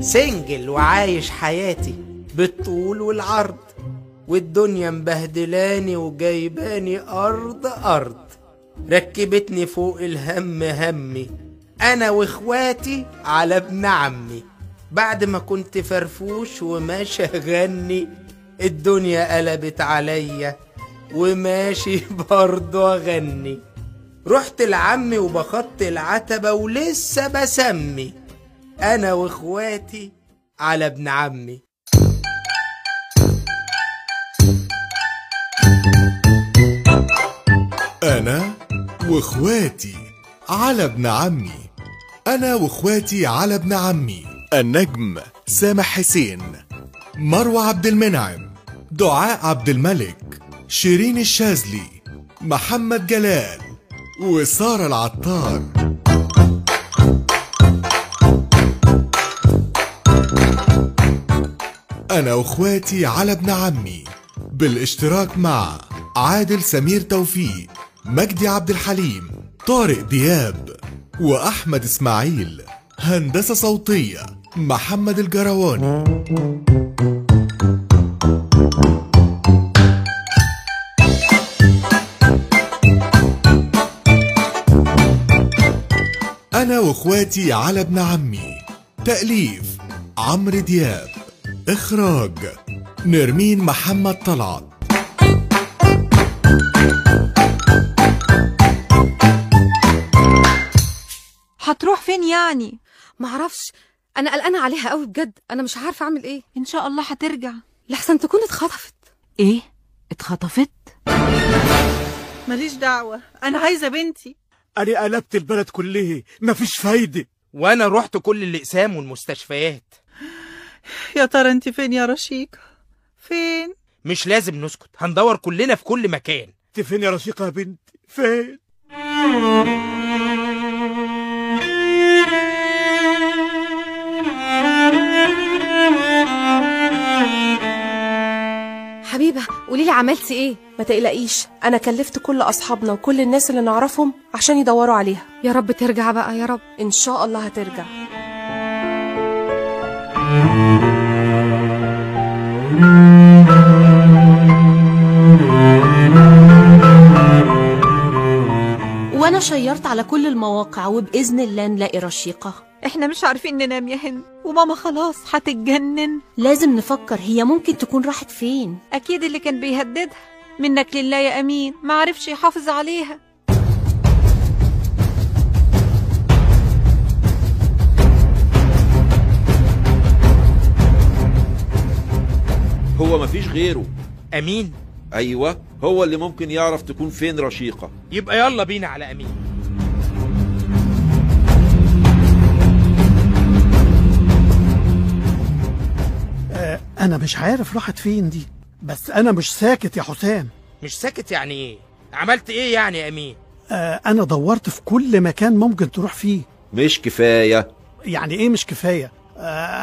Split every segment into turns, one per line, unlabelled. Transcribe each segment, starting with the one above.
سنجل وعايش حياتي بالطول والعرض والدنيا مبهدلاني وجايباني أرض أرض ركبتني فوق الهم همي أنا وإخواتي على ابن عمي بعد ما كنت فرفوش وماشي أغني الدنيا قلبت عليا وماشي برضه أغني رحت لعمي وبخط العتبة ولسه بسمي أنا وإخواتي على ابن عمي
أنا وإخواتي على ابن عمي أنا وإخواتي على ابن عمي النجم سامح حسين مروة عبد المنعم دعاء عبد الملك شيرين الشاذلي محمد جلال وسارة العطار أنا وإخواتي على ابن عمي بالاشتراك مع عادل سمير توفيق مجدي عبد الحليم طارق دياب وأحمد إسماعيل هندسة صوتية محمد الجرواني أنا وإخواتي على ابن عمي تأليف عمرو دياب إخراج نرمين محمد طلعت
هتروح فين يعني
معرفش انا قلقانه عليها قوي بجد انا مش عارفه اعمل ايه
ان شاء الله هترجع
لحسن تكون اتخطفت إيه؟
ايه اتخطفت
ماليش دعوة أنا عايزة بنتي
أنا قلبت البلد كلها مفيش فايدة
وأنا رحت كل الأقسام والمستشفيات
يا ترى أنت فين يا رشيقة فين
مش لازم نسكت هندور كلنا في كل مكان
أنت فين يا رشيقة يا بنت فين
حبيبه قولي لي عملتي ايه
ما تقلقيش انا كلفت كل اصحابنا وكل الناس اللي نعرفهم عشان يدوروا عليها
يا رب ترجع بقى يا رب
ان شاء الله هترجع
وانا شيرت على كل المواقع وباذن الله نلاقي رشيقه
احنا مش عارفين ننام يا هند وماما خلاص هتتجنن
لازم نفكر هي ممكن تكون راحت فين
اكيد اللي كان بيهددها منك لله يا امين ما عرفش يحافظ عليها
هو مفيش غيره
أمين
ايوه هو اللي ممكن يعرف تكون فين رشيقه
يبقى يلا بينا على أمين
أنا مش عارف راحت فين دي بس أنا مش ساكت يا حسام
مش ساكت يعني إيه عملت إيه يعني يا أمين
آه، أنا دورت في كل مكان ممكن تروح فيه
مش كفايه
يعني إيه مش كفاية آه،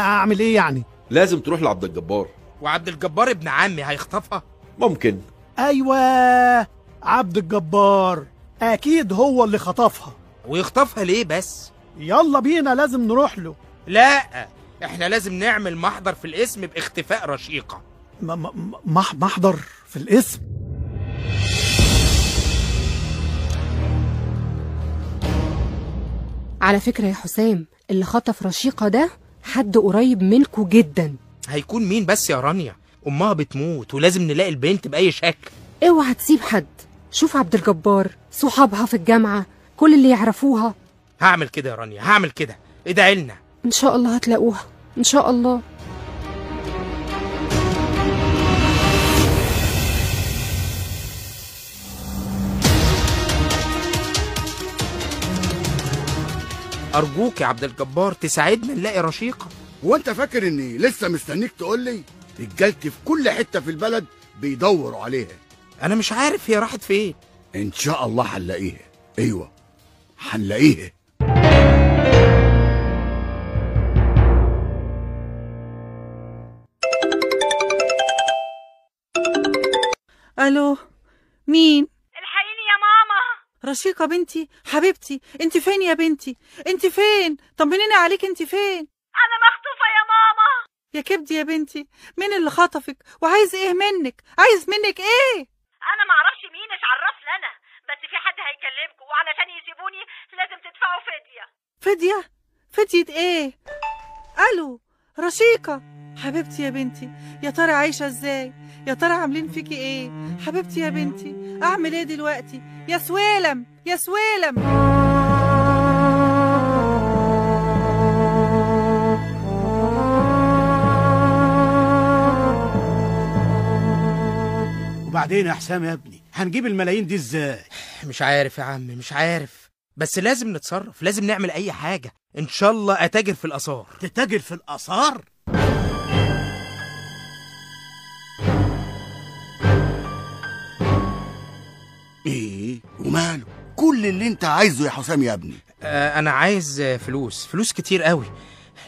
أعمل إيه يعني
لازم تروح لعبد الجبار
وعبد الجبار ابن عمي هيخطفها
ممكن
أيوة عبد الجبار أكيد هو اللي خطفها
ويخطفها ليه بس
يلا بينا لازم نروح له
لا احنا لازم نعمل محضر في الاسم باختفاء رشيقة
م- م- مح- محضر في الاسم
على فكره يا حسام اللي خطف رشيقه ده حد قريب منكو جدا
هيكون مين بس يا رانيا أمها بتموت ولازم نلاقي البنت بأي شكل
اوعى تسيب حد شوف عبد الجبار صحابها في الجامعه كل اللي يعرفوها
هعمل كده يا رانيا هعمل كده ادعي لنا
ان شاء الله هتلاقوها ان شاء الله
أرجوك يا عبد الجبار تساعدنا نلاقي رشيقة
هو انت فاكر اني لسه مستنيك تقول لي رجالتي في كل حته في البلد بيدوروا عليها
أنا مش عارف هي راحت فين
ان شاء الله هنلاقيها ايوه
أيوة،
هنلاقيها
ألو مين
الحقيني يا ماما
رشيقة بنتي حبيبتي أنت فين يا بنتي أنت فين طمنيني عليك أنت فين
انا مخطوفه يا ماما
يا كبدي يا بنتي مين اللي خطفك وعايز ايه منك عايز منك ايه
انا معرفش مين اتعرفني انا بس في حد هيكلمكم وعلشان يسيبوني لازم تدفعوا فدية
فدية فدية ايه الو رشيقة حبيبتي يا بنتي يا ترى عايشة ازاي يا ترى عاملين فيكي ايه حبيبتي يا بنتي اعمل ايه دلوقتي يا سويلم يا سويلم
وبعدين يا حسام يا ابني هنجيب الملايين دي ازاي
مش عارف يا عم مش عارف بس لازم نتصرف لازم نعمل اي حاجة ان شاء الله اتاجر في الاثار
تتاجر في الاثار
ايه وماله كل اللي انت عايزه يا حسام يا ابني
آه، انا عايز آه، فلوس فلوس كتير قوي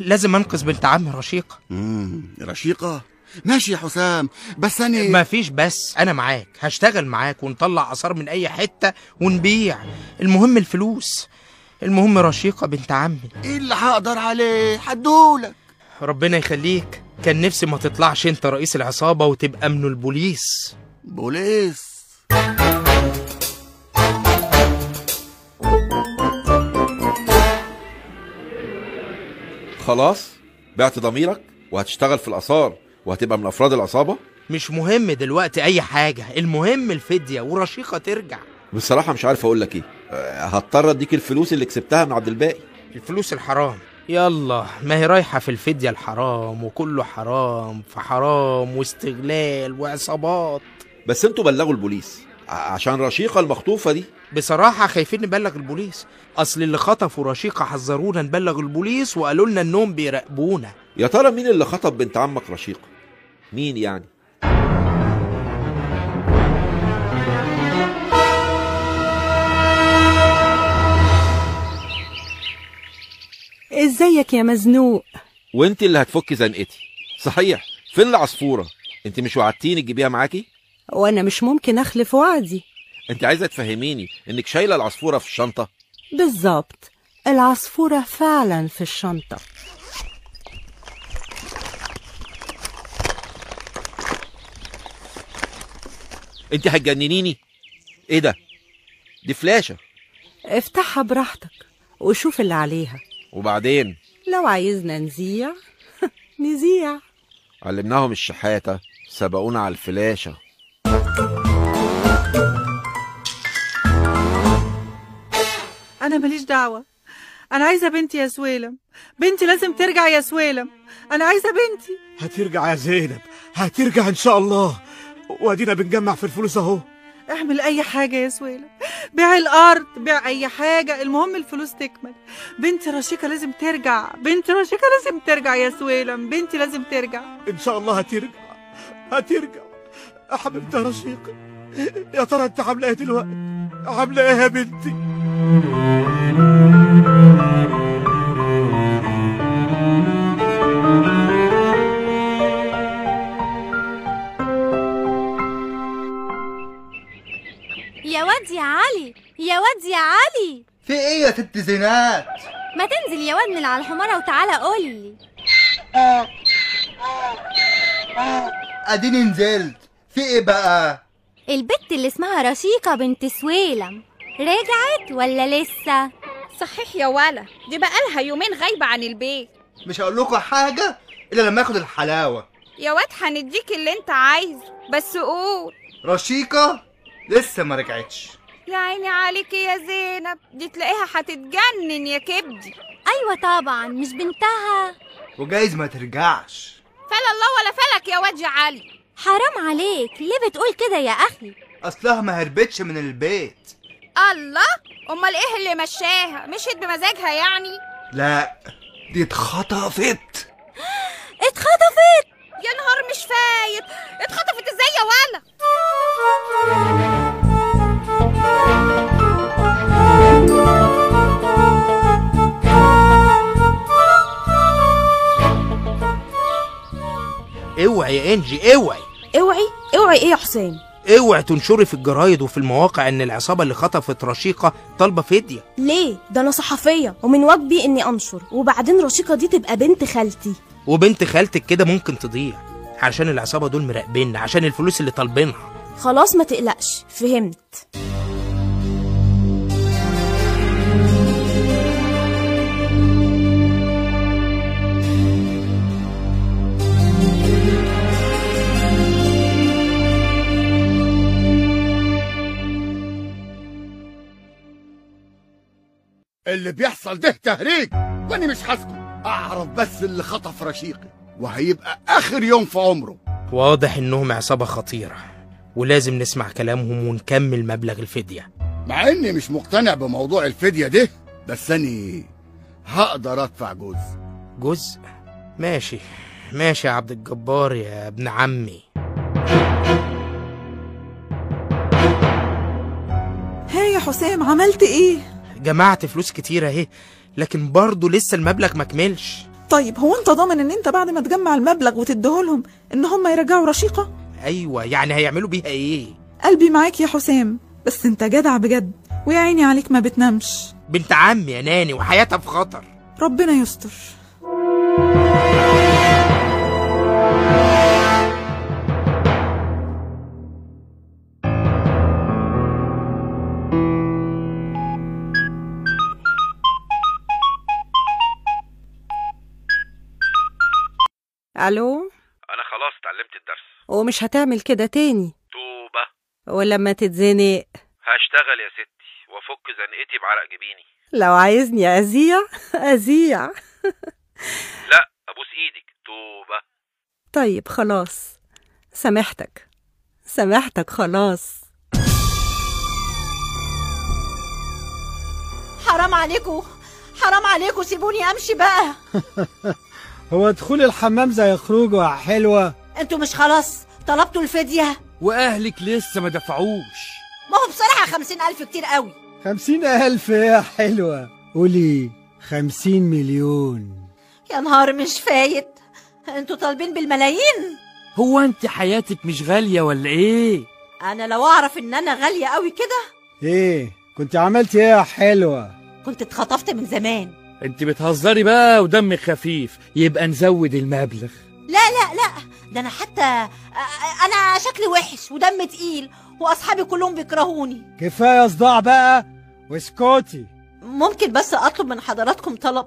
لازم انقذ بنت عمي رشيقة
امم رشيقة ماشي يا حسام بس انا
مفيش بس انا معاك هشتغل معاك ونطلع اثار من اي حتة ونبيع المهم الفلوس المهم رشيقة بنت عمي
ايه اللي هقدر عليه هدولك
ربنا يخليك كان نفسي ما تطلعش انت رئيس العصابة وتبقى من البوليس
بوليس
خلاص بعت ضميرك وهتشتغل في الآثار وهتبقى من أفراد العصابة
مش مهم دلوقتي اي حاجة المهم الفدية ورشيقة ترجع
بصراحة مش عارف أقول لك إيه آه، هضطر أديك الفلوس اللي كسبتها من عبد الباقي
الفلوس الحرام يلا ما هي رايحة في الفدية الحرام وكله حرام فحرام واستغلال وعصابات
بس أنتوا بلغوا البوليس ع- عشان رشيقة المخطوفة دي
بصراحة خايفين نبلغ البوليس أصل اللي خطفوا رشيقة حذرونا نبلغ البوليس وقالوا لنا إنهم بيراقبونا
يا ترى مين اللي خطب بنت عمك رشيقة مين يعني
ازيك يا مزنوق
وانت اللي هتفكي زنقتي صحيح فين العصفورة انت مش وعدتيني تجيبيها معاكي
وانا مش ممكن اخلف وعدي
انت عايزة تفهميني انك شايلة العصفورة في الشنطة
بالظبط العصفورة فعلا في الشنطة
انت هتجننيني ايه ده دي فلاشة
افتحها براحتك وشوف اللي عليها
وبعدين
لو عايزنا نذيع نذيع
علمناهم الشحاتة سبقونا على الفلاشة
انا ماليش دعوة انا عايزة بنتي يا سويلم بنتي لازم ترجع يا سويلم انا عايزة بنتي
هترجع يا زينب هترجع ان شاء الله وادينا بنجمع في الفلوس اهو
اعمل اي حاجة يا سويلم بيع الارض بيع اي حاجة المهم الفلوس تكمل بنتي رشيقة لازم ترجع بنتي رشيقة لازم ترجع يا سويلم بنتي لازم ترجع
ان شاء الله هترجع هترجع يا حبيبتي يا رشيقة يا ترى انت عامله ايه دلوقتي عامله ايه يا بنتي
يا واد يا علي يا واد يا علي
في ايه يا ست زينات
ما تنزل يا واد من على الحمارة وتعالى قولي
اديني نزلت في ايه بقى
البت اللي اسمها رشيقة بنت سويلم رجعت ولا لسه؟
صحيح يا ولا دي بقالها يومين غايبة عن البيت
مش هقول لكم حاجه الا لما اخد الحلاوه
يا واد هنديك اللي انت عايزه بس قول
رشيقه لسه ما رجعتش
يا عيني عليك يا زينب دي تلاقيها هتتجنن يا كبدي
أيوة طبعا مش بنتها
وجايز ما ترجعش
فلا الله ولا فلك يا واد يا علي
حرام عليك ليه بتقول كده يا أخي؟
اصلها ما هربتش من البيت
الله امال ايه اللي مشاها مشيت بمزاجها يعني
لا دي اتخطفت
اتخطفت
يا نهار مش فايت
طيب.
اتخطفت ازاي يا ولا
اوعي يا انجي اوعي
إيه
اوعي اوعي ايه يا حسام
اوعي تنشري في الجرايد وفي المواقع ان العصابه اللي خطفت رشيقه طالبه فديه
ليه ده انا صحفيه ومن واجبي اني انشر وبعدين رشيقه دي تبقى بنت خالتي
وبنت خالتك كده ممكن تضيع عشان العصابه دول مراقبين عشان الفلوس اللي طالبينها
خلاص ما تقلقش فهمت
اللي بيحصل ده تهريج وانا مش هسكت اعرف بس اللي خطف رشيقي وهيبقى اخر يوم في عمره
واضح انهم عصابه خطيره ولازم نسمع كلامهم ونكمل مبلغ الفديه
مع اني مش مقتنع بموضوع الفديه ده بس اني هقدر ادفع جزء
جزء ماشي ماشي يا عبد الجبار يا ابن عمي
هي يا حسام عملت ايه
جمعت فلوس كتيره اهي لكن برضه لسه المبلغ ما كملش
طيب هو انت ضامن ان انت بعد ما تجمع المبلغ وتديهولهم ان هم يرجعوا رشيقه
ايوه يعني هيعملوا بيها ايه
قلبي معاك يا حسام بس انت جدع بجد ويا عيني عليك ما بتنامش
بنت عمي يا ناني وحياتها في خطر
ربنا يستر
الو
انا خلاص اتعلمت الدرس
ومش هتعمل كده تاني
توبه
ولما تتزنق
هشتغل يا ستي وافك زنقتي بعرق جبيني
لو عايزني اذيع اذيع
لا ابوس ايدك توبه
طيب خلاص سامحتك سامحتك خلاص
حرام عليكم حرام عليكم سيبوني امشي بقى
هو دخول الحمام زي خروجه يا حلوة
انتوا مش خلاص طلبتوا الفدية
وأهلك لسه ما دفعوش
ما هو بصراحة خمسين ألف كتير قوي
خمسين ألف إيه يا حلوة قولي خمسين مليون
يا نهار مش فايت انتوا طالبين بالملايين
هو أنت حياتك مش غالية ولا إيه؟
أنا لو أعرف إن أنا غالية قوي كده
إيه كنت عملت إيه يا حلوة؟
كنت اتخطفت من زمان
أنت بتهزري بقى ودمك خفيف يبقى نزود المبلغ
لا لا لا ده انا حتى أ- انا شكلي وحش ودم تقيل واصحابي كلهم بيكرهوني
كفاية صداع بقى واسكتي
ممكن بس اطلب من حضراتكم طلب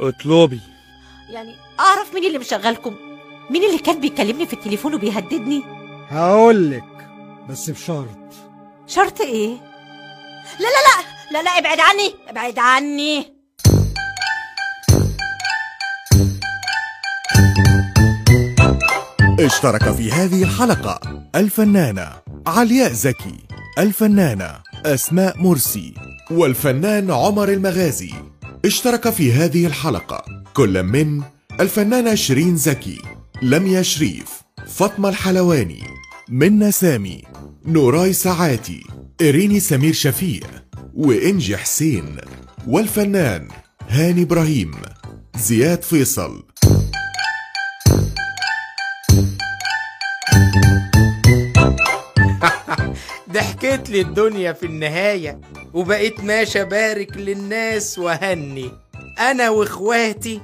اطلبي
يعني اعرف مين اللي مشغلكم مين اللي كان بيكلمني في التليفون وبيهددني
هقولك بس بشرط
شرط ايه لا لا لا لا لا ابعد عني ابعد عني
اشترك في هذه الحلقة الفنانة علياء زكي الفنانة أسماء مرسي والفنان عمر المغازي اشترك في هذه الحلقة كل من الفنانة شيرين زكي لميا شريف فاطمة الحلواني منى سامي نوراي سعاتي إريني سمير شفيق وإنجي حسين والفنان هاني إبراهيم زياد فيصل
ضحكت لي الدنيا في النهاية وبقيت ماشي أبارك للناس وهني أنا وإخواتي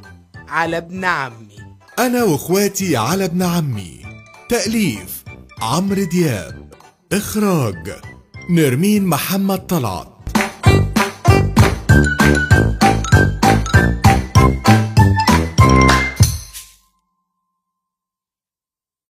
على ابن عمي
أنا وإخواتي على ابن عمي تأليف عمرو دياب إخراج نرمين محمد طلعت